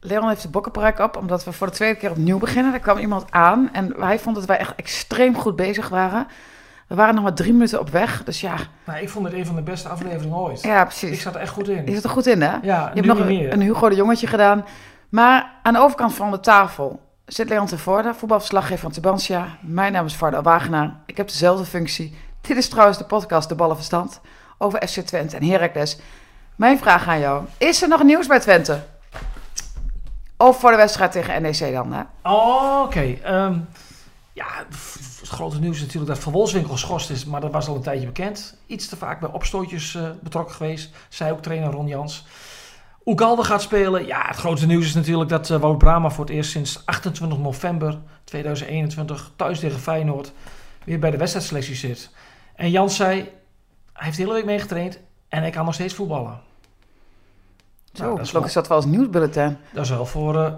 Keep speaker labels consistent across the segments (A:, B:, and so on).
A: Leon heeft de bokkenpruik op, omdat we voor de tweede keer opnieuw beginnen. Er kwam iemand aan en hij vond dat wij echt extreem goed bezig waren. We waren nog maar drie minuten op weg, dus ja.
B: Nou, ik vond het een van de beste afleveringen ooit.
A: Ja,
B: Ik
A: precies.
B: zat er echt goed in.
A: Je zit er goed in, hè?
B: Ja,
A: Je
B: nu
A: hebt nog
B: niet
A: een,
B: meer.
A: een Hugo de Jongetje gedaan. Maar aan de overkant van de tafel zit Leon Tevoorde, voetbalverslaggever van Tubantia. Mijn naam is Varda Wagenaar. Ik heb dezelfde functie. Dit is trouwens de podcast De Ballenverstand over FC Twente en Heracles. Mijn vraag aan jou. Is er nog nieuws bij Twente? Of voor de wedstrijd tegen NEC dan, hè?
B: Oh, Oké. ehm, ja, f- het grote nieuws is natuurlijk dat Van Wolfswinkel geschorst is, maar dat was al een tijdje bekend. Iets te vaak bij opstootjes eh, betrokken geweest. Zij ook trainer Ron Jans. Oegalde gaat spelen. Ja, het grote nieuws is natuurlijk dat eh, Wout Brama voor het eerst sinds 28 november 2021 thuis tegen Feyenoord weer bij de wedstrijdselectie zit. En Jans zei, hij heeft de hele week meegetraind en hij kan nog steeds voetballen.
A: Zo,
B: Nou, dat
A: dat
B: is
A: is dat wel als nieuwsbulletin.
B: Dat is wel voor... eh,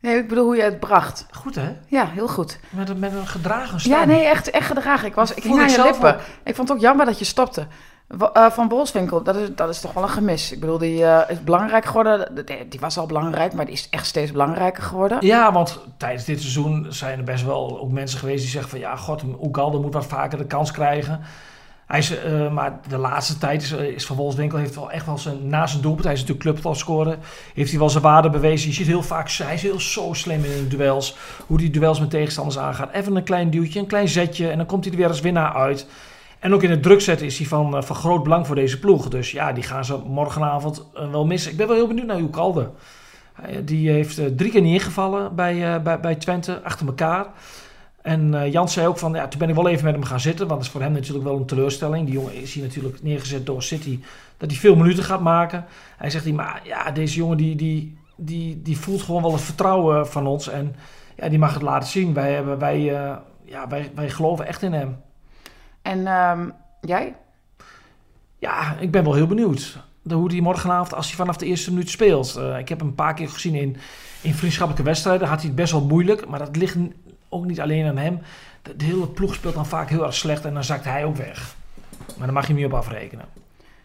A: Nee, ik bedoel hoe je het bracht.
B: goed hè?
A: Ja, heel goed.
B: Met, een- met een gedragen stem.
A: Ja, nee, echt, echt gedragen. Ik, was, ik
B: Voel
A: hing aan
B: ik
A: je
B: zelf
A: lippen.
B: ook.
A: Ik vond het ook jammer dat je stopte. Wa- eh, van Bolswinkel, dat is, dat is toch wel een gemis. Ik bedoel, die eh, is belangrijk geworden. Die, die was al belangrijk, maar die is echt steeds belangrijker geworden.
B: Ja, want tijdens dit seizoen zijn er best wel ook mensen geweest die zeggen van ja, god, Oegalde moet wat vaker de kans krijgen. Hij is, eh, maar de laatste tijd is, eh, is Van Wolfswinkel heeft wel echt wel zijn, na zijn doelpunt, hij is natuurlijk clubtopscorer, heeft hij wel zijn waarde bewezen. Je ziet heel vaak, hij is heel zo slim in de duels, hoe hij duels met tegenstanders aangaat. Even een klein duwtje, een klein zetje en dan komt hij er weer als winnaar uit. En ook in het druk zetten is hij van, eh, van groot belang voor deze ploeg. Dus ja, die gaan ze morgenavond eh, wel missen. Ik ben wel heel benieuwd naar Oegalde. Hij- Die heeft eh, drie keer niet ingevallen bij, eh, bij, bij Twente, achter elkaar. En eh Jans zei ook van, ja, toen ben ik wel even met hem gaan zitten. Want dat is voor hem natuurlijk wel een teleurstelling. Die jongen is hier natuurlijk neergezet door City. Dat hij veel minuten gaat maken. Hij zegt, maar ja, deze jongen die, die, die, die voelt gewoon wel het vertrouwen van ons. En ja, die mag het laten zien. Wij, hebben, wij, eh, ja, wij, wij geloven echt in hem.
A: En ehm, jij?
B: Ja, ik ben wel heel benieuwd. De- Hoe die morgenavond, als hij vanaf de eerste minuut speelt. Eh, ik heb hem een paar keer gezien in, in vriendschappelijke wedstrijden. Had hij het best wel moeilijk. Maar dat ligt n- ook niet alleen aan hem. De, de hele ploeg speelt dan vaak heel erg slecht. En dan zakt hij ook weg. Maar daar mag je niet op afrekenen.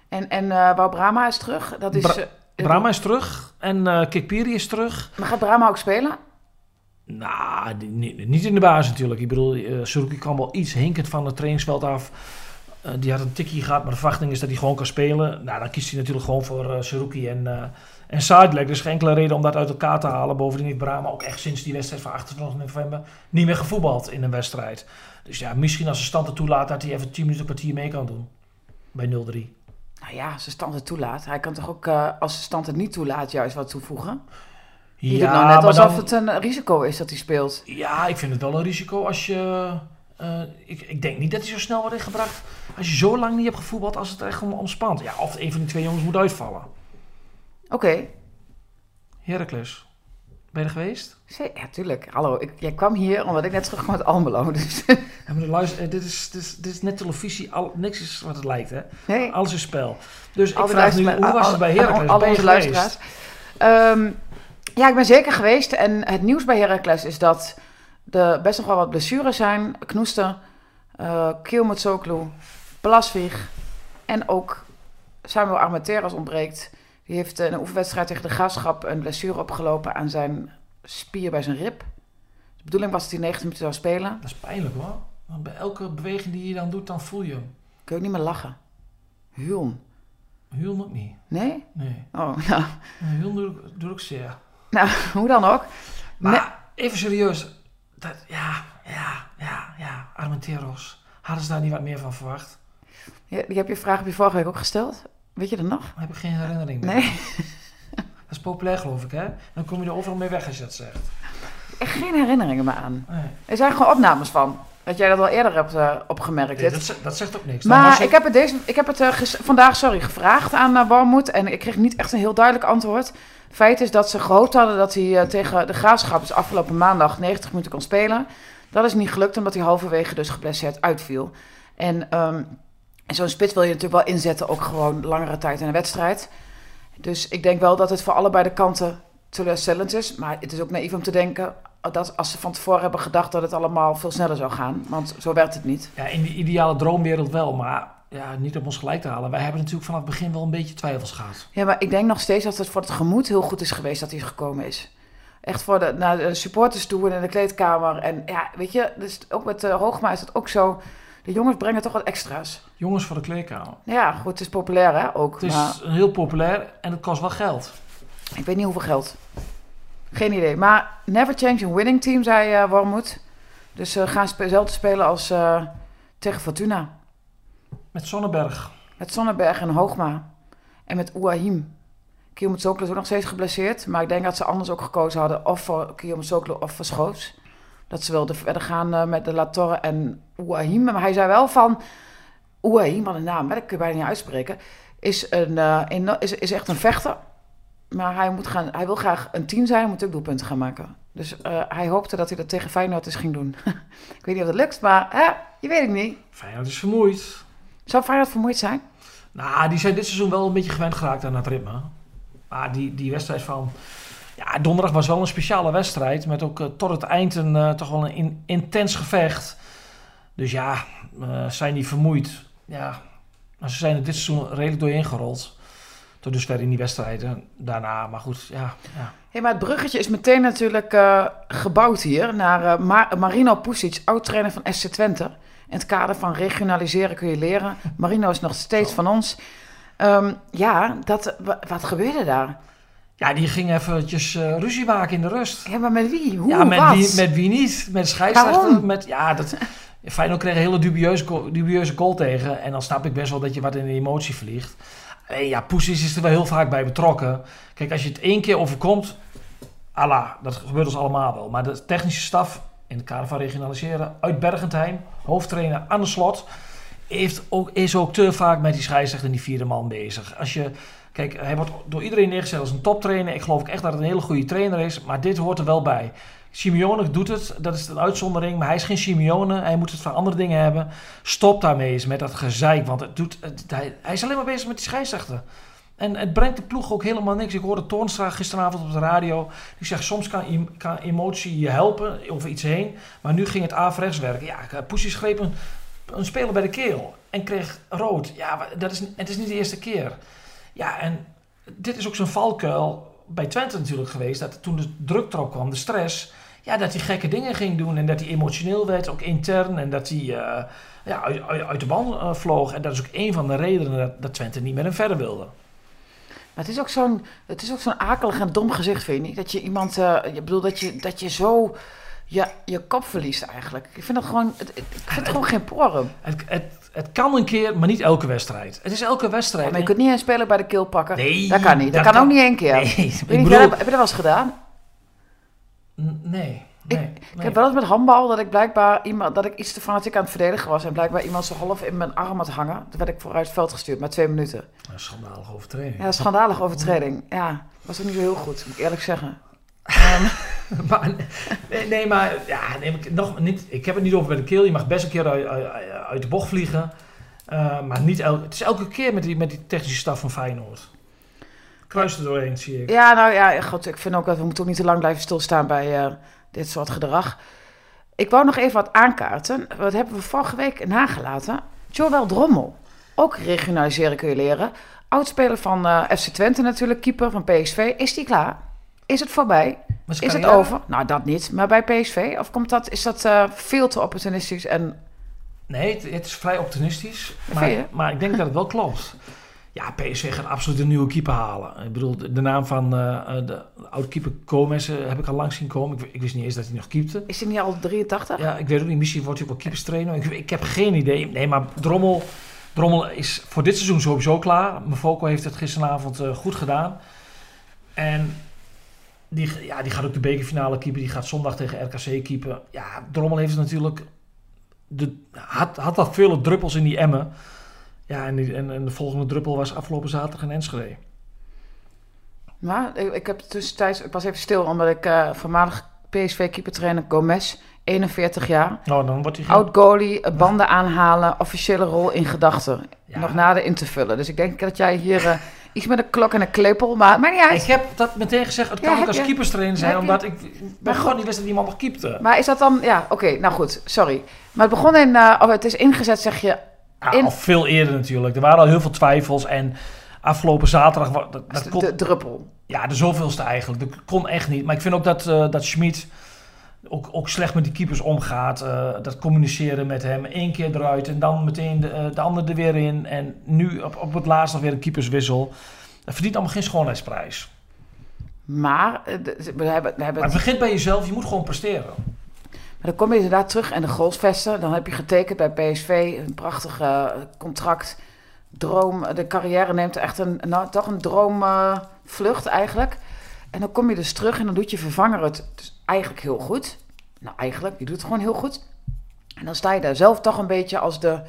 A: En, en eh Wou Brama is terug. Dat is,
B: Bra-
A: eh,
B: Brahma is terug. En eh Kikpiri is terug.
A: Maar gaat Brama ook spelen?
B: Nou, die- niet, niet in de baas natuurlijk. Ik bedoel, eh Suruki kwam wel iets hinkend van het trainingsveld af. Eh, die had een tikkie gehad, maar de verwachting is dat hij gewoon kan spelen. Nou, dan kiest hij natuurlijk gewoon voor eh Suruki en, eh en Sadilek. Er is geen enkele reden om dat uit elkaar te halen. Bovendien heeft Brahma ook echt sinds die wedstrijd van 28 november niet meer gevoetbald in een wedstrijd. Dus ja, misschien als de stand het toelaat dat hij even 10 minuten een kwartier mee kan doen. Bij 0-3.
A: Nou ja, als de stand het toelaat. Hij kan toch ook, eh, als de stand het niet toelaat, juist wat toevoegen? Je doet nou net
B: maar
A: alsof
B: dan-
A: het een risico is dat hij speelt.
B: Ja, ik vind het wel een risico als je. eh, ik, ik denk niet dat hij zo snel wordt ingebracht. Als je zo lang niet hebt gevoetbald als het er echt om, omspant. Ja, of een van die twee jongens moet uitvallen.
A: Oké,
B: Heracles, ben je er geweest?
A: Zee- ja, tuurlijk. Hallo, ik, jij kwam hier omdat ik net terug kwam uit Almelo. Dus
B: Ja, maar luister, eh, dit, is, dit, is, dit is net televisie. Al, niks is wat het lijkt, hè?
A: nee.
B: Alles is spel. Dus ik
A: Al die
B: vraag nu,
A: luistera-
B: hoe was het bij
A: al-
B: Heracles?
A: Al, al
B: Ben je
A: onze
B: geweest?
A: luisteraars. Ehm, ja, ik ben zeker geweest. En het nieuws bij Heracles is dat er best nog wel wat blessures zijn. Knoester, eh Kielmutsoglu, Plasvig en ook Samuel Armenteros ontbreekt. Die heeft in een oefenwedstrijd tegen de Graafschap een blessure opgelopen aan zijn spier bij zijn rib. De bedoeling was dat hij 90 minuten zou spelen.
B: Dat is pijnlijk, hoor. Want bij elke beweging die je dan doet, dan voel je hem.
A: Kun je ook niet meer lachen. Hulm.
B: Hulm ook niet.
A: Nee?
B: Nee.
A: Oh, nou,
B: Hulm doe ik- doe ik zeer.
A: nou hoe dan ook.
B: Maar even serieus. Dat, ja, ja, ja, ja. Armenteros. Hadden ze daar niet wat meer van verwacht?
A: Ja, die heb je vraag heb je vorige week ook gesteld. Weet je dat nog?
B: Daar heb ik geen herinnering meer.
A: Nee,
B: Dat is populair, geloof ik, hè? Dan kom je er overal mee weg als je dat zegt.
A: echt geen herinneringen meer aan.
B: Nee.
A: Er zijn gewoon opnames van. Dat jij dat al eerder hebt eh, opgemerkt.
B: Nee,
A: Dit-
B: dat, ze- dat zegt ook niks. Dan was
A: maar
B: het-
A: ik heb het, deze, ik heb het eh, ges- vandaag sorry, gevraagd aan eh Walmoed. En ik kreeg niet echt een heel duidelijk antwoord. Feit is dat ze gehoopt hadden dat hij eh, tegen de graafschap, dus afgelopen maandag, 90 minuten kon spelen. Dat is niet gelukt omdat hij halverwege dus geblesseerd uitviel. En ehm, zo'n spits wil je natuurlijk wel inzetten, ook gewoon langere tijd in een wedstrijd. Dus ik denk wel dat het voor allebei de kanten teleurstellend is. Maar het is ook naïef om te denken dat als ze van tevoren hebben gedacht dat het allemaal veel sneller zou gaan. Want zo werd het niet.
B: Ja, in die ideale droomwereld wel, maar ja, niet om ons gelijk te halen. Wij hebben natuurlijk vanaf het begin wel een beetje twijfels gehad.
A: Ja, maar ik denk nog steeds dat het voor het gemoed heel goed is geweest dat hij gekomen is. Echt voor de, naar de supporters toe en in de kleedkamer. En ja, weet je, dus ook met eh, Hoogma is dat ook zo. De jongens brengen toch wat extra's.
B: Jongens voor de kleedkamer.
A: Nou Ja, goed, het is populair hè, ook.
B: Het is
A: Maar
B: een heel populair en het kost wel geld.
A: ik weet niet hoeveel geld. Geen idee. Maar never change a winning team, zei eh Wormoed. Dus eh gaan spe- zelf te spelen als eh, tegen Fortuna.
B: Met Sonnenberg.
A: Met Sonnenberg en Hoogma. En met Ouahim. Kiyomitsoklo is ook nog steeds geblesseerd. Maar ik denk dat ze anders ook gekozen hadden. Of voor Kiyomitsoklo of voor Schoofs. Dat ze wilden verder gaan eh, met de Latorre en Ouahim. Maar hij zei wel van... Ouahim, wat een naam. hè, Dat kun je bijna niet uitspreken. Is, een, eh, eno- is, is echt een vechter. Maar hij, moet gaan, hij wil graag een team zijn. Hij moet ook doelpunten gaan maken. Dus eh, hij hoopte dat hij dat tegen Feyenoord eens ging doen. ik weet niet of dat lukt, maar hè, je weet het niet.
B: Feyenoord is vermoeid.
A: Zou Feyenoord vermoeid zijn?
B: Nou, die zijn dit seizoen wel een beetje gewend geraakt aan dat ritme. Maar die, die wedstrijd van... Ja, donderdag was wel een speciale wedstrijd. Met ook eh, tot het eind een, eh, toch wel een in- intens gevecht. Dus ja, eh, zijn die vermoeid? Ja, maar ze zijn er dit seizoen redelijk doorheen gerold. Tot dusver in die wedstrijden daarna. Maar goed, ja. ja.
A: Hé, maar het bruggetje is meteen natuurlijk eh, gebouwd hier naar eh, Ma- Marino Pusic, oud-trainer van SC Twente. In het kader van regionaliseren kun je leren. Marino is nog steeds van ons. Ehm, ja, dat, wa- wat gebeurde daar?
B: Ja, die ging eventjes eh, ruzie maken in de rust.
A: Ja, maar met wie? Hoe?
B: ja, met
A: wat?
B: wie, met wie niet? Met scheidsrechter?
A: Waarom?
B: Met, ja, dat, Feyenoord kreeg een hele dubieuze, go- dubieuze goal tegen. En dan snap ik best wel dat je wat in de emotie vliegt. Alleen ja, Poesies is er wel heel vaak bij betrokken. Kijk, als je het één keer overkomt... Allah, dat gebeurt ons allemaal wel. Maar de technische staf in het kader van regionaliseren... uit Bergentheim, hoofdtrainer aan de slot... Heeft ook, is ook te vaak met die scheidsrechter en die vierde man bezig. Als je, kijk, hij wordt door iedereen neergezet als een toptrainer. Ik geloof ook echt dat het een hele goede trainer is. Maar dit hoort er wel bij. Simeone doet het, dat is een uitzondering, maar hij is geen Simeone. Hij moet het van andere dingen hebben. Stop daarmee eens met dat gezeik, want het doet, het- hij, hij is alleen maar bezig met die scheidsrechter. En het brengt de ploeg ook helemaal niks. Ik hoorde Toornstra gisteravond op de radio. Die zegt, soms kan, em- kan emotie je helpen over iets heen. Maar nu ging het averechts werken. Ja, Poesie greep een, een speler bij de keel en kreeg rood. Ja, wa- dat is, het is niet de eerste keer. Ja, en dit is ook zo'n valkuil bij Twente natuurlijk geweest. Dat toen de druk erop kwam, de stress ja, dat hij gekke dingen ging doen en dat hij emotioneel werd, ook intern. En dat hij eh, ja, uit, uit, uit de band eh, vloog. En dat is ook een van de redenen dat, dat Twente niet met hem verder wilde.
A: Maar het is ook zo'n het is ook zo'n akelig en dom gezicht, vind je niet? Dat je iemand, eh je bedoel, dat je, dat je zo je, je kop verliest eigenlijk. Ik vind dat gewoon, het- het- ik vind het gewoon geen porum.
B: Het, het, het kan een keer, maar niet elke wedstrijd. Het is elke wedstrijd.
A: Maar je kunt niet een speler bij de keel pakken.
B: Nee,
A: dat kan niet. Dat,
B: dat
A: kan ook
B: kan-
A: niet één keer.
B: Nee,
A: Ik
B: ik
A: weet niet,
B: bedoel-
A: heb, heb je dat wel eens gedaan?
B: N- Nee, nee, nee.
A: Ik heb wel eens met handbal dat ik blijkbaar iemand, dat ik iets te fanatiek aan het verdedigen was. En blijkbaar iemand zo half in mijn arm had hangen. Toen werd ik vooruit het veld gestuurd, maar twee minuten.
B: Een schandalige overtreding.
A: Ja, schandalige overtreding. Ja, was ook niet zo heel goed, moet ik eerlijk zeggen.
B: maar, nee, nee, maar ja, nee, maar ik- nog, niet, ik heb het niet over bij de keel. Je mag best een keer uit, uit- uit de bocht vliegen. Eh, maar niet el, het is elke keer met die, met die technische staf van Feyenoord. Kruis er doorheen, zie ik.
A: Ja, nou ja, goed, ik vind ook dat we moeten ook niet te lang blijven stilstaan bij eh, dit soort gedrag. Ik wou nog even wat aankaarten. Wat hebben we vorige week nagelaten? Joël Drommel. Ook regionaliseren kun je leren. Oudspeler van eh, FC Twente natuurlijk, keeper van PSV. Is die klaar? Is het voorbij?
B: Maar zijn
A: Is het
B: carrière-
A: over? Nou, dat niet. Maar bij PSV? Of komt dat, is dat eh, veel te opportunistisch? En
B: Nee, het, het is vrij optimistisch.
A: Vind
B: Maar,
A: je?
B: maar ik denk dat het wel klopt. Ja, PSV gaat absoluut een nieuwe keeper halen. Ik bedoel, de, de naam van eh, eh, de oud-keeper Komes eh, heb ik al lang zien komen. Ik, w- ik wist niet eens dat hij nog keepte.
A: is hij niet al 83?
B: Ja, ik weet ook niet. Misschien wordt hij ook wel keeperstrainer. Ik, ik heb geen idee. Nee, maar Drommel, Drommel is voor dit seizoen sowieso klaar. Mevoko heeft het gisteravond eh, goed gedaan. En die, ja, die gaat ook de bekerfinale keeper. Die gaat zondag tegen RKC keeper. Ja, Drommel heeft natuurlijk... De, had, had dat vele druppels in die emmen. Ja, en, die- en, en de volgende druppel was afgelopen zaterdag in Enschede.
A: eh, Maar ik, ik heb tussentijds, ik was even stil omdat ik eh voormalig PSV keepertrainer Gomez 41 jaar.
B: Nou, dan wordt hij ge-
A: Oud goalie, eh, banden aanhalen, officiële rol in gedachten.
B: Ja.
A: Nog nader in te vullen. Dus ik denk dat jij hier eh, iets met een klok en een klepel, maar maakt niet uit.
B: Ik heb dat meteen gezegd, het
A: Ja,
B: kan ook
A: heb
B: als
A: je.
B: keeperstrainer zijn,
A: Heb je.
B: omdat ik, ik ben gewoon niet wist dat die man nog keepte.
A: Maar is dat dan, ja, oké, nou goed, sorry. Maar het begon in, eh, oh, het is ingezet zeg je,
B: Ja,
A: in-
B: Al veel eerder natuurlijk. Er waren al heel veel twijfels en afgelopen zaterdag... wa- Dat, dat kon-
A: de druppel.
B: Ja, de zoveelste eigenlijk. Dat kon echt niet. Maar ik vind ook dat, eh dat Schmid ook, ook slecht met die keepers omgaat. Eh, dat communiceren met hem. Eén keer eruit en dan meteen de, eh, de ander er weer in. En nu op, op het laatst nog weer een keeperswissel. Dat verdient allemaal geen schoonheidsprijs.
A: Maar, eh, de- we hebben, we hebben
B: Maar het begint bij jezelf. Je moet gewoon presteren.
A: Maar dan kom je inderdaad terug en de goalsvesten. Dan heb je getekend bij PSV. Een prachtig eh, contract. Droom. De carrière neemt echt een, nou, toch een droomvlucht eigenlijk. En dan kom je dus terug en dan doet je vervanger het dus eigenlijk heel goed. Nou, eigenlijk, die doet het gewoon heel goed. En dan sta je daar zelf toch een beetje als de,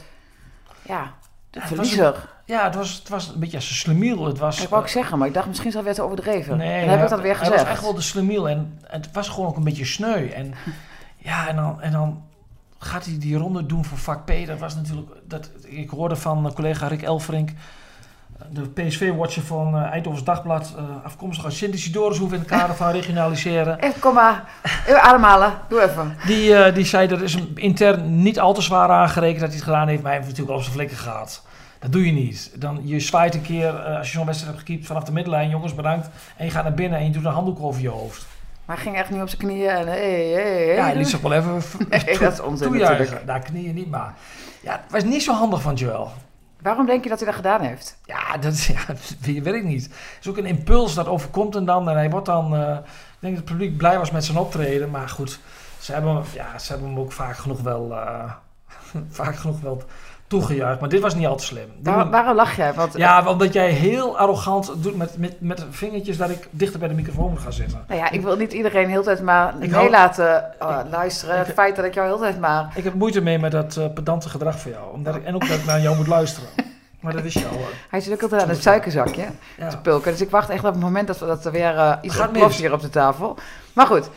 A: ja, de
B: het was
A: verliezer.
B: Ja, het was, het was een beetje als een slemiel. Het was,
A: Ik wou ik zeggen, maar ik dacht misschien is dat weer te overdreven.
B: Nee,
A: en dan heb ik dat
B: hij-
A: weer
B: Hij was
A: gezegd.
B: echt wel de slemiel en het was gewoon ook een beetje sneu. En ja, en dan, en dan gaat hij die ronde doen voor vak P. Dat was natuurlijk, dat, ik hoorde van eh, collega Rick Elfrink, de PSV-watcher van eh Eindhoven's Dagblad, eh, afkomstig uit Sint-Isidorushoef in het kader van regionaliseren.
A: Echt, Eh, kom maar. Even ademhalen. Doe even.
B: Die, eh, die zei, er is hem intern niet al te zwaar aangerekend dat hij het gedaan heeft, maar hij heeft natuurlijk al op zijn flikken gehad. Dat doe je niet. Dan, je zwaait een keer, eh, als je zo'n wedstrijd hebt gekiept, vanaf de middenlijn, jongens bedankt. En je gaat naar binnen en je doet een handdoek over je hoofd.
A: Maar hij ging echt niet op zijn knieën en hey, hey, hey.
B: Ja, en die zag wel even v-
A: Nee, dat is onzin
B: toejuichen.
A: natuurlijk.
B: Daar knieën niet, maar... Ja, het was niet zo handig van Joel.
A: Waarom denk je dat hij dat gedaan heeft?
B: Ja, dat ja, dat weet ik niet. Het is ook een impuls dat overkomt en dan. En hij wordt dan... eh, ik denk dat het publiek blij was met zijn optreden. Maar goed, ze hebben, hem- ja, ze hebben hem ook vaak genoeg wel... eh, vaak genoeg wel toegejuicht. Maar dit was niet al te slim. Die
A: Waar-
B: moet-
A: waarom lach jij? Want,
B: ja, want omdat jij heel arrogant doet met, met, met vingertjes... dat ik dichter bij de microfoon ga zitten.
A: Nou ja, ik wil niet iedereen heel de tijd maar
B: Ik
A: mee
B: hou-
A: laten eh, luisteren. Het feit dat ik jou heel de tijd maar...
B: Ik heb moeite mee met dat eh, pedante gedrag van jou. Omdat ik, en ook dat ik naar jou moet luisteren. Maar dat wist je al. hoor.
A: Hij zit ook altijd aan het suikerzakje te
B: Ja.
A: pulken. Dus ik wacht echt op het moment dat, we- dat er weer eh iets
B: Gaat
A: ontploft
B: mis.
A: hier op de tafel. Maar goed,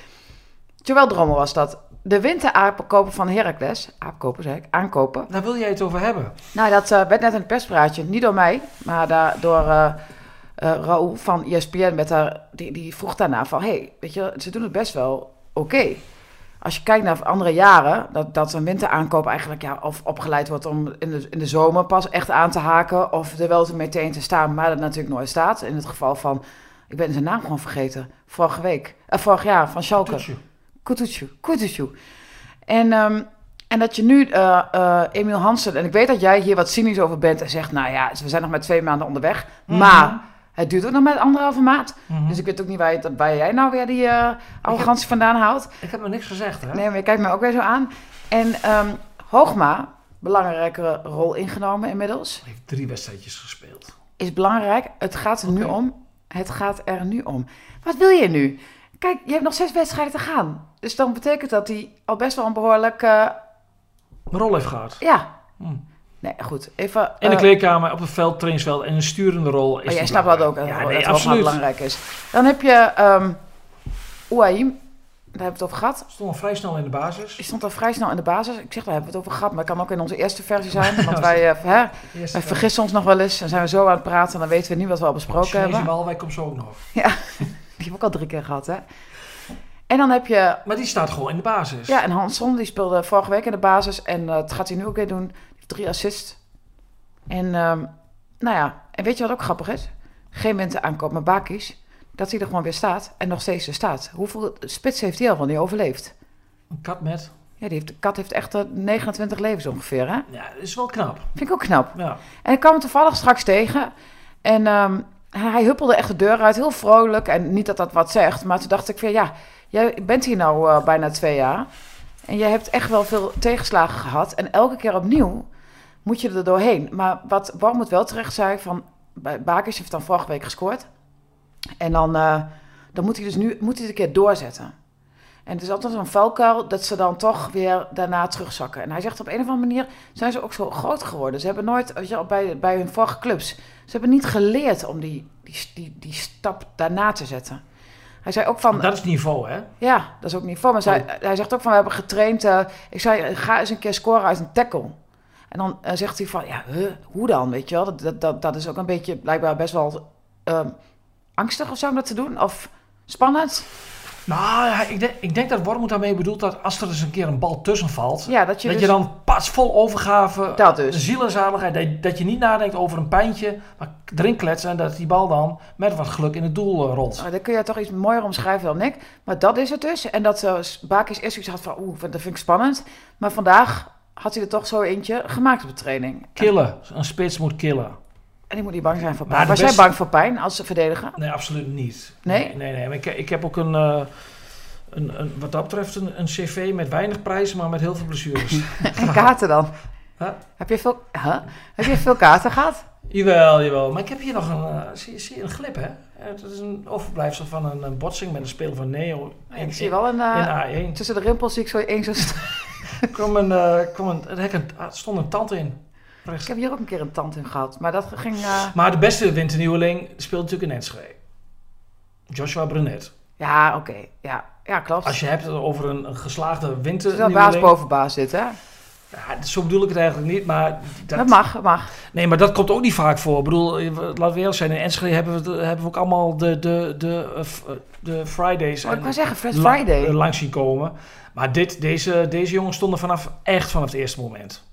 A: Joël Drommel was dat. De winteraapkoper van Heracles, aapkoper zei ik, aankopen.
B: Daar wil jij het over hebben.
A: Nou, dat eh, werd net een perspraatje. Niet door mij, maar daar, door eh eh, Raoul van ESPN. Met haar, die, die vroeg daarna van... hey, weet je, ze doen het best wel oké. Als je kijkt naar andere jaren... dat, dat een winteraankoop eigenlijk ja, of opgeleid wordt... om in de, in de zomer pas echt aan te haken... of er wel te meteen te staan, maar dat natuurlijk nooit staat. In het geval van... Ik ben zijn naam gewoon vergeten. Vorige week. eh, vorig jaar, van Schalke.
B: Toetje.
A: Kutucu, Kutucu. En, ehm, en dat je nu eh, eh, Emiel Hansen... En ik weet dat jij hier wat cynisch over bent en zegt... Nou ja, we zijn nog maar twee maanden onderweg.
B: Mhm.
A: Maar het duurt ook nog maar anderhalve maand.
B: Mhm.
A: Dus ik weet ook niet waar, je, waar jij nou weer die eh, arrogantie vandaan haalt.
B: Ik heb me niks gezegd, hè?
A: Nee, maar je kijkt me ook weer zo aan. En ehm, Hoogma, belangrijkere rol ingenomen inmiddels...
B: Hij heeft drie wedstrijdjes gespeeld.
A: is belangrijk. Het gaat er nu
B: Oké.
A: om. Het gaat er nu om. Wat wil je nu? Kijk, je hebt nog zes wedstrijden te gaan. Dus dan betekent dat hij al best wel een behoorlijk... eh,
B: Mijn rol heeft gehad.
A: ja.
B: Hmm.
A: Nee, goed. Even...
B: In de
A: eh,
B: kleedkamer, op het veld, trainingsveld en een sturende rol. Is
A: oh, jij
B: die
A: snapt dat ook.
B: belangrijk.
A: eh,
B: Ja,
A: dat
B: nee,
A: dat absoluut.
B: absoluut.
A: belangrijk is. Dan heb je ehm Ouahim. Daar hebben we het over gehad.
B: Stond al vrij snel in de basis.
A: Die stond al vrij snel in de basis. Ik zeg, daar hebben we het over gehad. Maar het kan ook in onze eerste versie zijn. Want wij, eh, hè, wij vergissen ons nog wel eens. En zijn we zo aan het praten. En dan weten we niet wat we al besproken
B: Chinese
A: hebben.
B: bal, wij komen zo ook nog.
A: Die heb ik al drie keer gehad, hè. En dan heb je
B: Maar die staat gewoon in de basis.
A: Ja, en Hanson die speelde vorige week in de basis en eh, dat gaat hij nu ook weer doen. Hij heeft drie assists. En ehm, nou ja, en weet je wat ook grappig is? Geen mensen aankoop, maar Bakis. Dat hij er gewoon weer staat en nog steeds er staat. Hoeveel spits heeft hij al van die overleeft?
B: Een kat met.
A: Ja, die heeft, de kat heeft echt eh, 29 levens ongeveer, hè?
B: Ja, dat is wel knap.
A: Vind ik ook knap.
B: Ja.
A: En ik kwam hem toevallig straks tegen. En ehm, hij hij huppelde echt de deur uit, heel vrolijk. En niet dat dat wat zegt, maar toen dacht ik van... Ja, jij bent hier nou eh, bijna twee jaar. En jij hebt echt wel veel tegenslagen gehad. En elke keer opnieuw moet je er doorheen. Maar wat Bart moet wel terecht zijn van... Ba- Bakers heeft dan vorige week gescoord. En dan, eh, dan moet hij dus nu moet hij het een keer doorzetten. En het is altijd een valkuil dat ze dan toch weer daarna terugzakken. En hij zegt op een of andere manier zijn ze ook zo groot geworden. Ze hebben nooit, weet je, wel, bij, bij hun vorige clubs, ze hebben niet geleerd om die, die, die, die stap daarna te zetten. Hij zei ook van,
B: Dat is niveau, hè?
A: ja, dat is ook niveau. Maar zei,
B: Oh.
A: hij zegt ook van, we hebben getraind. eh, ik zei, ga eens een keer scoren uit een tackle. En dan eh, zegt hij van, ja, huh, hoe dan, weet je wel? Dat, dat, dat, dat is ook een beetje blijkbaar best wel ehm, angstig of zo om dat te doen. Of spannend.
B: Nou, hij- ik denk, ik denk dat Wormoed daarmee bedoelt dat als er eens een keer een bal tussen valt,
A: Ja, dat je
B: dat
A: dus...
B: je dan pas vol overgave,
A: Dat dus.
B: ziel en zaligheid, dat, dat je niet nadenkt over een pijntje, maar erin kletsen en dat die bal dan met wat geluk in het doel eh, rolt.
A: Nou, dan kun je toch iets mooier omschrijven dan ik. Maar dat is het dus. En dat eh, Bakis eerst iets had van, oeh, dat vind ik spannend. Maar vandaag had hij er toch zo eentje gemaakt op de training.
B: Killen. Een spits moet killen.
A: En die moet niet bang zijn voor
B: Maar
A: pijn.
B: de
A: Was jij
B: beste-
A: bang voor pijn als ze verdedigen?
B: Nee, absoluut niet.
A: Nee?
B: Nee, nee. nee. Maar Ik, ik heb ook een, eh, een, een, wat dat betreft een, een cv met weinig prijzen, maar met heel veel blessures.
A: En kaarten dan?
B: Huh?
A: Heb je veel, huh? Heb je veel kaarten gehad?
B: jawel, jawel. Maar ik heb hier nog een, eh, zie, zie je een glip, hè? Het is een overblijfsel van een, eh, botsing met een speler van Neo in,
A: ik zie wel een... eh,
B: in A1.
A: tussen de rimpels zie ik zo één zo'n... st-
B: Er kwam een, eh, kwam een, er hek een- ah, stond een tand in. Rechts.
A: Ik heb hier ook een keer een tand in gehad. Maar dat ging... eh,
B: Maar de beste winternieuweling speelt natuurlijk in Enschede. Joshua Brunet.
A: Ja, oké. Ja. ja, klopt.
B: Als je hebt over een, een geslaagde
A: het is wel
B: winternieuweling...
A: baas boven baas zitten. hè?
B: Ja, zo bedoel ik het eigenlijk niet, maar...
A: Dat mag, dat mag.
B: Nee, maar dat komt ook niet vaak voor. Ik bedoel, eh, we- laten we eerlijk zijn. In Enschede hebben we, het- hebben we ook allemaal de, de, de, eh, f- eh, de Fridays
A: Maar Oh, ik wou
B: en
A: zeggen, Fred
B: la-
A: Friday.
B: eh, langs zien komen. Maar dit, deze, deze jongens stonden vanaf, echt vanaf het eerste moment.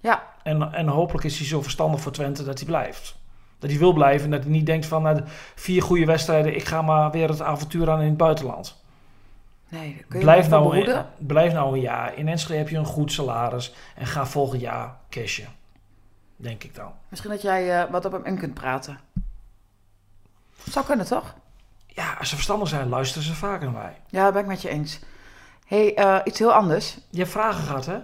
A: Ja.
B: En, en hopelijk is hij zo verstandig voor Twente dat hij blijft. Dat hij wil blijven en dat hij niet denkt van... Na de vier goede wedstrijden, ik ga maar weer het avontuur aan in het buitenland.
A: Nee, dat kun je
B: Blijf
A: me voor
B: nou, een,
A: behoeden.
B: blijf nou een jaar. In Enschede heb je een goed salaris. En ga volgend jaar cashen. Denk ik dan.
A: Misschien dat jij eh, wat op hem in kunt praten. Zou kunnen, toch?
B: Ja, als ze verstandig zijn, luisteren ze vaker naar mij.
A: Ja, dat ben ik met je eens. hey, eh, iets heel anders.
B: Je hebt vragen gehad, hè?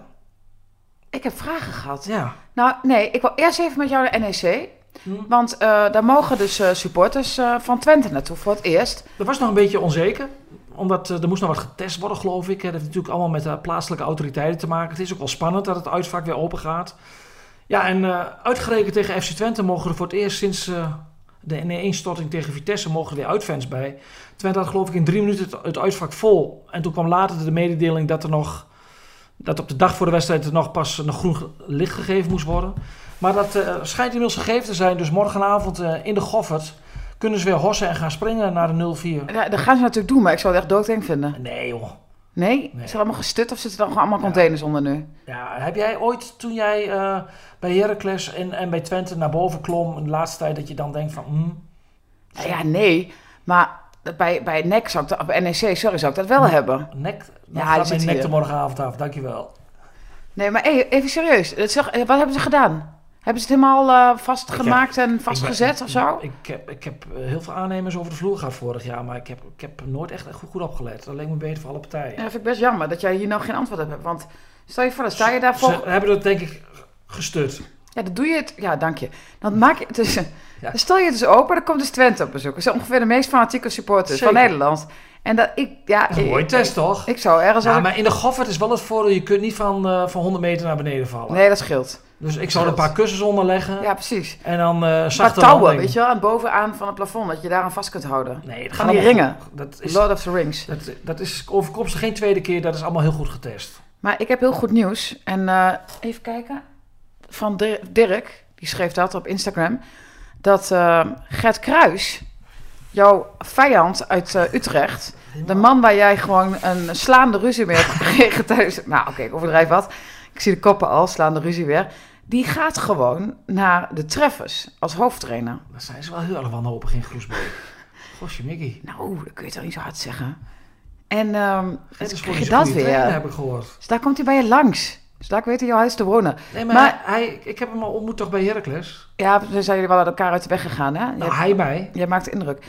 A: Ik heb vragen gehad.
B: Ja.
A: Nou, nee, ik wil eerst even met jou naar NEC.
B: Hm.
A: Want eh, daar mogen dus eh, supporters eh, van Twente naartoe voor het eerst.
B: Dat was nog een beetje onzeker. Omdat eh, er moest nog wat getest worden, geloof ik. Dat heeft natuurlijk allemaal met de plaatselijke autoriteiten te maken. Het is ook wel spannend dat het uitvak weer open gaat. Ja, en eh, uitgerekend tegen FC Twente mogen er voor het eerst sinds eh, de ineenstorting tegen Vitesse mogen er weer uitfans bij. Twente had geloof ik in drie minuten het, het uitvak vol. En toen kwam later de mededeling dat er nog... Dat op de dag voor de wedstrijd er nog pas nog groen ge- licht gegeven moest worden. Maar dat eh, schijnt inmiddels gegeven te zijn. Dus morgenavond eh, in de Goffert kunnen ze weer hossen en gaan springen naar de 0-4.
A: Ja, dat gaan ze natuurlijk doen, maar ik zou het echt doodeng vinden.
B: Nee joh.
A: Nee?
B: Nee.
A: Is er allemaal gestut of zitten er gewoon allemaal containers onder nu?
B: Ja, heb jij ooit toen jij eh, bij Heracles en, en bij Twente naar boven klom, in de laatste tijd dat je dan denkt van, hmm,
A: Nou ja, nee. Maar bij, bij NEC zou ik dat, bij NEC, sorry, zou ik dat wel
B: Hm.
A: hebben.
B: nek, dan
A: Ja, die
B: gaat
A: zit
B: mijn nek
A: hier.
B: er morgenavond af, dankjewel.
A: Nee, maar hey, even serieus. Dat zeg- eh, wat hebben ze gedaan? Hebben ze het helemaal eh, vastgemaakt en vastgezet of zo?
B: Ik heb, ik heb eh, heel veel aannemers over de vloer gehad vorig jaar, maar ik heb, ik heb nooit echt goed, goed opgelet. Dat leek me beter voor alle partijen.
A: Ja, dat vind ik best jammer dat jij hier nou geen antwoord op hebt. Want stel je voor, dan sta je daar
B: Ze
A: vol-
B: hebben dat denk ik gestut.
A: Ja, dan doe je het. Ja, dank je.
B: Hmm.
A: Dan maak je het dus. Dan stel je het dus open, dan komt dus Twente op bezoek. Dat zijn ongeveer de meest fanatieke supporters van
B: Zeker.
A: Nederland. En dat ik. Ja,
B: Dat is een
A: ik-
B: mooie test toch?
A: Ik zou ergens.
B: Ja,
A: aan-
B: maar in de goffert is wel het voordeel, je kunt niet van, eh, van 100 meter naar beneden vallen.
A: Nee, dat scheelt.
B: Dus ik zou er een paar kussens onder leggen
A: Ja, precies.
B: en dan eh
A: Maar
B: zachte
A: touwen,
B: landing.
A: weet je wel, aan bovenaan van het plafond, dat je daar aan vast kunt houden.
B: Nee, dat
A: Van
B: gaat
A: die
B: allemaal
A: ringen.
B: goed. Dat is,
A: Lord of the Rings.
B: dat, dat is overkomstig geen tweede keer. Dat is allemaal heel goed getest.
A: Maar ik heb heel goed nieuws. En eh, even kijken. Van Dir- Dirk, die schreef dat op Instagram. Dat eh, Gert Kruis, jouw vijand uit eh, Utrecht. De man waar jij gewoon een slaande ruzie mee hebt gekregen thuis. Nou, oké, ik overdrijf wat. Ik zie de koppen al, slaande ruzie weer. Die gaat gewoon naar de treffers als hoofdtrainer.
B: Dan zijn ze wel heel erg wanhopig in Groesbeek. Gosje Mickey.
A: Nou, dat kun je toch niet zo hard zeggen. En ehm
B: Het is
A: dus
B: voor
A: krijg je
B: die
A: dat
B: goede
A: weer.
B: trainer, heb ik gehoord.
A: Dus daar komt hij bij je langs. Dus daar weet hij jouw huis te wonen.
B: Nee, maar,
A: Maar-
B: hij, ik heb hem al ontmoet toch bij Heracles?
A: Ja, we zijn jullie wel uit elkaar uit de weg gegaan, hè?
B: Nou,
A: jij,
B: hij mij.
A: jij maakt indruk.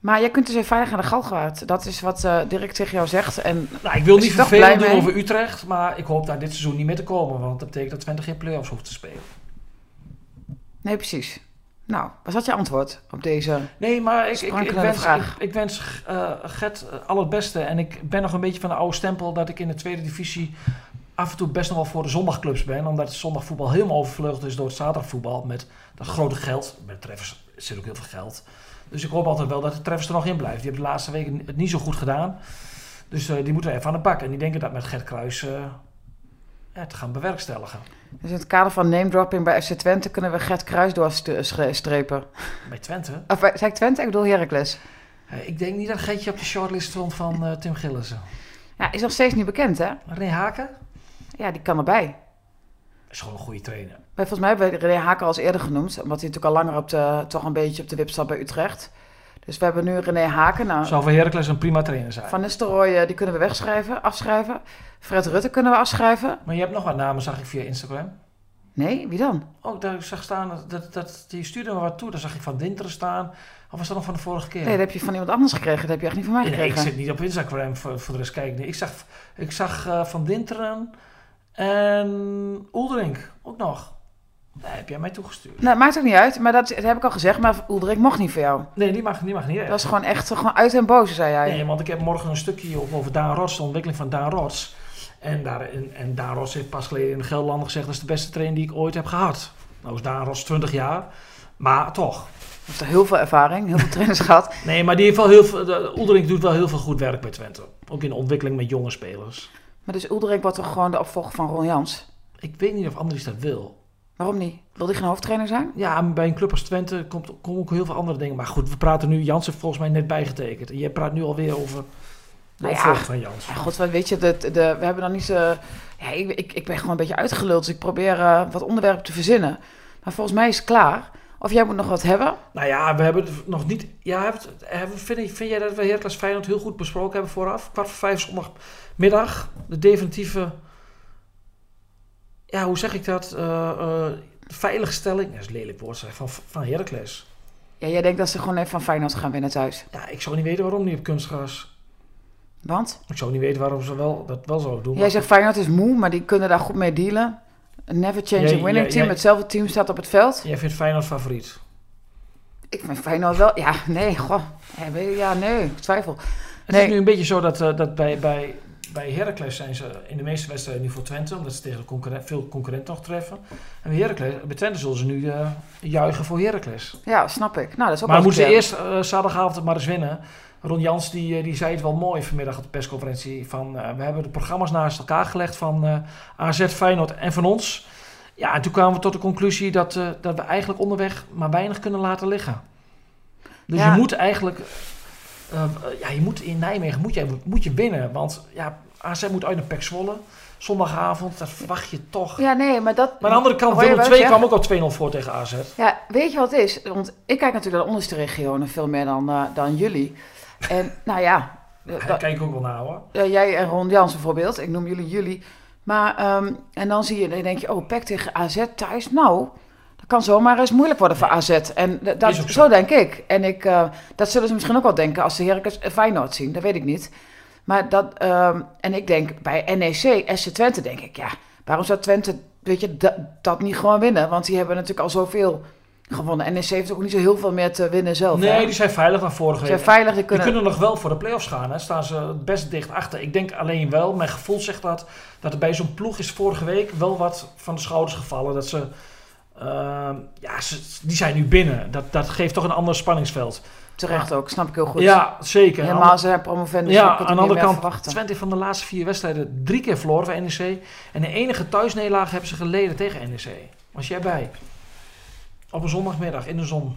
A: Maar jij kunt dus even veilig aan de galgenwaard. Dat is wat eh, Dirk tegen jou zegt. En
B: Nou, ik wil
A: Is
B: niet
A: hij toch
B: vervelend
A: blij
B: doen
A: mee?
B: over Utrecht. Maar ik hoop daar dit seizoen niet meer te komen. Want dat betekent dat Twente geen play-offs hoeft te spelen.
A: nee, precies. Nou, was dat je antwoord op deze?
B: Nee, maar ik, ik, ik
A: Sprankelende
B: wens, ik,
A: vraag.
B: ik wens eh, Gert eh, al het beste. En ik ben nog een beetje van de oude stempel dat ik in de tweede divisie af en toe best nog wel voor de zondagclubs ben. Omdat het zondagvoetbal helemaal overvleugeld is door het zaterdagvoetbal. Met dat grote geld, met treffers er zit ook heel veel geld. Dus ik hoop altijd wel dat de treffers er nog in blijft. Die hebben de laatste weken het niet zo goed gedaan. Dus eh, die moeten we even aan de bak. En die denken dat met Gert Kruis eh, ja, te gaan bewerkstelligen.
A: Dus in het kader van name dropping bij FC Twente kunnen we Gert Kruis doorstrepen.
B: Bij Twente.
A: Of eh, zei ik Twente? Ik bedoel Heracles.
B: Eh, ik denk niet dat Geetje op de shortlist stond van eh, Tim Gillissen.
A: Ja, is nog steeds niet bekend, hè?
B: René Haken
A: Ja, die kan erbij.
B: is gewoon een goede trainer.
A: Wij- Volgens mij hebben we René Haken al eens eerder genoemd. Omdat hij natuurlijk al langer op de, toch een beetje op de wip staat bij Utrecht. Dus we hebben nu René Haken. Nou,
B: Zou voor Heracles een prima trainer zijn.
A: Van Nistelrooy, eh, die kunnen we wegschrijven, afschrijven. Fred Rutte kunnen we afschrijven.
B: Maar je hebt nog wat namen, zag ik via Instagram.
A: Nee, wie dan?
B: Ook daar zag staan, dat- dat, dat, die stuurde me wat toe. Daar zag ik Van Dinteren staan. Of was dat nog van de vorige keer?
A: Nee, dat heb je van iemand anders gekregen. Dat heb je echt niet van mij
B: Nee,
A: gekregen.
B: ik zit niet op Instagram voor, voor de rest kijken. Nee, ik zag, ik zag eh, Van Dinteren en Oeldrink ook nog. Daar heb jij mij toegestuurd.
A: Nou, maakt ook niet uit. Maar dat, dat heb ik al gezegd. Maar Oelderik mocht niet voor jou.
B: Nee, die mag, die mag niet.
A: Dat was gewoon echt eh, gewoon uit en boze, zei jij.
B: Nee, want ik heb morgen een stukje op over Daan Rots, de ontwikkeling van Daan Rots. En, daar, en, en Daan Rots heeft pas geleden in Gelderland gezegd... dat is de beste trainer die ik ooit heb gehad. Nou is Daan Rots 20 jaar, maar toch.
A: Hij heeft heel veel ervaring, heel veel trainers gehad.
B: Nee, maar die heeft wel heel veel... de- Oeldrink doet wel heel veel goed werk bij Twente. Ook in de ontwikkeling met jonge spelers.
A: Maar dus Oelderik wordt toch gewoon de opvolger van Ron Jans?
B: Ik weet niet of Andries dat wil.
A: Waarom niet? Wil die geen hoofdtrainer zijn?
B: Ja, maar bij een club als Twente komt, komen ook heel veel andere dingen. Maar goed, we praten nu... Jans heeft volgens mij net bijgetekend. En jij praat nu alweer over de
A: Nou ja.
B: opvolger van Jans.
A: Ja, god, wat weet je, de, de, we hebben dan niet zo... Ja, ik, ik, ik ben gewoon een beetje uitgeluld, dus ik probeer eh, wat onderwerpen te verzinnen. Maar volgens mij is het klaar. Of jij moet nog wat hebben?
B: Nou ja, we hebben het nog niet. Ja, hebben we het- hebben we- vind, vind jij dat we Heracles Feyenoord heel goed besproken hebben vooraf? Kwart voor vijf zondagmiddag. De definitieve. Ja, hoe zeg ik dat? Eh, eh, veiligstelling. Dat is een lelijk woord zeg, van, van Heracles.
A: Ja, jij denkt dat ze gewoon even van Feyenoord gaan winnen thuis.
B: Ja, ik zou niet weten waarom niet op kunstgras.
A: Want?
B: Ik zou niet weten waarom ze wel, dat wel zouden doen.
A: Jij zegt Feyenoord is moe, maar die kunnen daar goed mee dealen. Een never changing
B: Jij-
A: winning
B: jij-
A: team.
B: jij-
A: Hetzelfde team staat op het veld.
B: Jij vindt Feyenoord favoriet.
A: Ik vind Feyenoord wel... Ja, nee, goh. Ja, weet je, Ja, nee, ik twijfel.
B: Het
A: Nee.
B: is nu een beetje zo dat, eh, dat bij, bij, bij Heracles zijn ze in de meeste wedstrijden nu voor Twente, omdat ze tegen de concurrent, veel concurrenten nog treffen. En bij, Heracles, bij Twente zullen ze nu eh, juichen voor Heracles.
A: Ja, snap ik. Nou, dat is ook
B: Maar
A: wel
B: moeten ze
A: eens
B: eerst eh, zaterdagavond maar eens winnen. Ron Jans die, eh, die zei het wel mooi vanmiddag op de persconferentie. Van, eh, we hebben de programma's naast elkaar gelegd van eh, AZ, Feyenoord en van ons. Ja, en toen kwamen we tot de conclusie dat, eh, dat we eigenlijk onderweg maar weinig kunnen laten liggen. Dus
A: Ja.
B: je moet eigenlijk... eh, eh, ja, je moet in Nijmegen moet je, moet je winnen. Want ja, AZ moet uit naar Pek Zwolle. Zondagavond, dat verwacht je toch.
A: Ja, nee, maar dat...
B: Maar aan de andere kant,
A: Hoor je
B: Willem
A: wat
B: II
A: ik zeg?
B: kwam ook al 2-0 voor tegen AZ.
A: Ja, weet je wat het is? Want ik kijk natuurlijk naar de onderste regionen veel meer dan, eh, dan jullie. En nou ja, eh,
B: Daar
A: dat-
B: kijk ik ook wel naar hoor.
A: eh, jij en Ron Jans bijvoorbeeld, ik noem jullie jullie. Maar, ehm, en dan zie je, dan denk je, oh, PEC tegen AZ thuis, nou... Dat kan zomaar eens moeilijk worden voor AZ. En d- dat,
B: Is ook
A: zo.
B: zo.
A: denk ik. En ik, eh, dat zullen ze misschien ook wel denken als ze Heracles en Feyenoord zien. Dat weet ik niet. Maar dat, ehm, en ik denk bij E NEC, SC Twente, denk ik, ja, waarom zou Twente, weet je, dat, dat niet gewoon winnen? Want die hebben natuurlijk al zoveel gewonnen. NEC heeft ook niet zo heel veel meer te winnen zelf. hè?
B: Nee, die zijn veilig van vorige
A: Ze
B: week.
A: zijn veilig, die
B: Die
A: kunnen...
B: kunnen nog wel voor de play-offs gaan. Hè? Staan ze best dicht achter. Ik denk alleen wel, mijn gevoel zegt dat, dat er bij zo'n ploeg is vorige week wel wat van de schouders gevallen. Dat ze, ehm, ja, ze- die zijn nu binnen. Dat, dat geeft toch een ander spanningsveld.
A: Terecht ook, snap ik heel goed.
B: Ja, zeker.
A: Helemaal, ze zijn promovendus,
B: ja,
A: dan kun je
B: aan de
A: niet
B: andere
A: meer
B: kant,
A: verwachten.
B: Twente heeft van de laatste vier wedstrijden drie keer verloren van NEC. En de enige thuisnederlaag hebben ze geleden tegen NEC. Was jij bij? Op een zondagmiddag in de zon.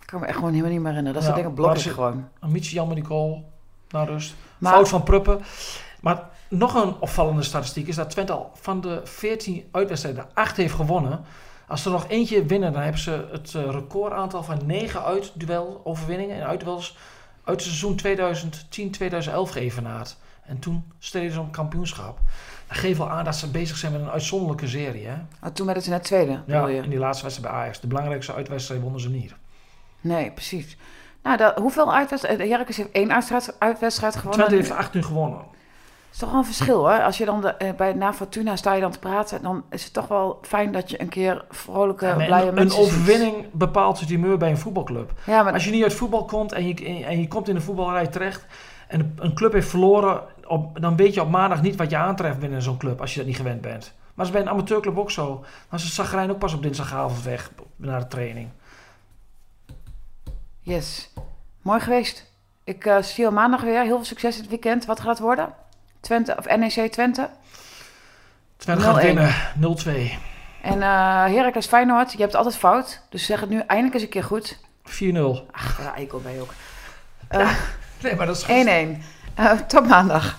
A: Ik kan me echt gewoon helemaal niet meer herinneren. Dat
B: Ja,
A: soort dingen
B: maar
A: blokken
B: ze-
A: gewoon.
B: Een beetje jammer die goal. Naar rust.
A: Maar
B: Fout van Pruppen. Maar nog een opvallende statistiek is dat Twente al van de 14 uitwedstrijden 8 heeft gewonnen. Als er nog eentje winnen, dan hebben ze het eh, recordaantal van 9 uitdueloverwinningen en uitduels uit het seizoen 2010-2011 geëvenaard. En toen streden ze om kampioenschap. Dat geeft wel aan dat ze bezig zijn met een uitzonderlijke serie. Hè?
A: oh, toen werden ze net tweede, bedoel
B: Ja,
A: je?
B: in die laatste wedstrijd bij Ajax. De belangrijkste uitwedstrijd wonnen ze niet.
A: Nee, precies. Nou, dat, hoeveel uitwedstrijden? Heracles heeft één uitwedstrijd, uitwedstrijd gewonnen.
B: Twente heeft 8 nu gewonnen.
A: Het is toch wel een verschil, hè? Als je dan de, eh, bij, na Fortuna sta je dan te praten... dan is het toch wel fijn dat je een keer vrolijke,
B: Maar
A: blije
B: een, een
A: mensen ziet.
B: overwinning bepaalt het humeur bij een voetbalclub.
A: Ja, maar
B: Als je niet uit voetbal komt en je, en je komt in de voetbalrij terecht en een club heeft verloren, op, dan weet je op maandag niet wat je aantreft binnen zo'n club als je dat niet gewend bent. Maar dat is bij een amateurclub ook zo. Dan is het zagrijn ook pas op dinsdagavond weg naar de training.
A: Yes. Mooi geweest. Ik eh, zie je maandag weer. Heel veel succes dit weekend. Wat gaat het worden? Twente, of NEC Twente.
B: Twente
A: 0-1.
B: gaat Dus winnen. 0-2.
A: En eh Heracles Feyenoord. Je hebt het altijd fout. Dus zeg het nu eindelijk eens een keer goed.
B: 4-0.
A: Ach, daar eikel ben je ook.
B: Nee, maar dat is
A: 1-1. Eh, tot maandag.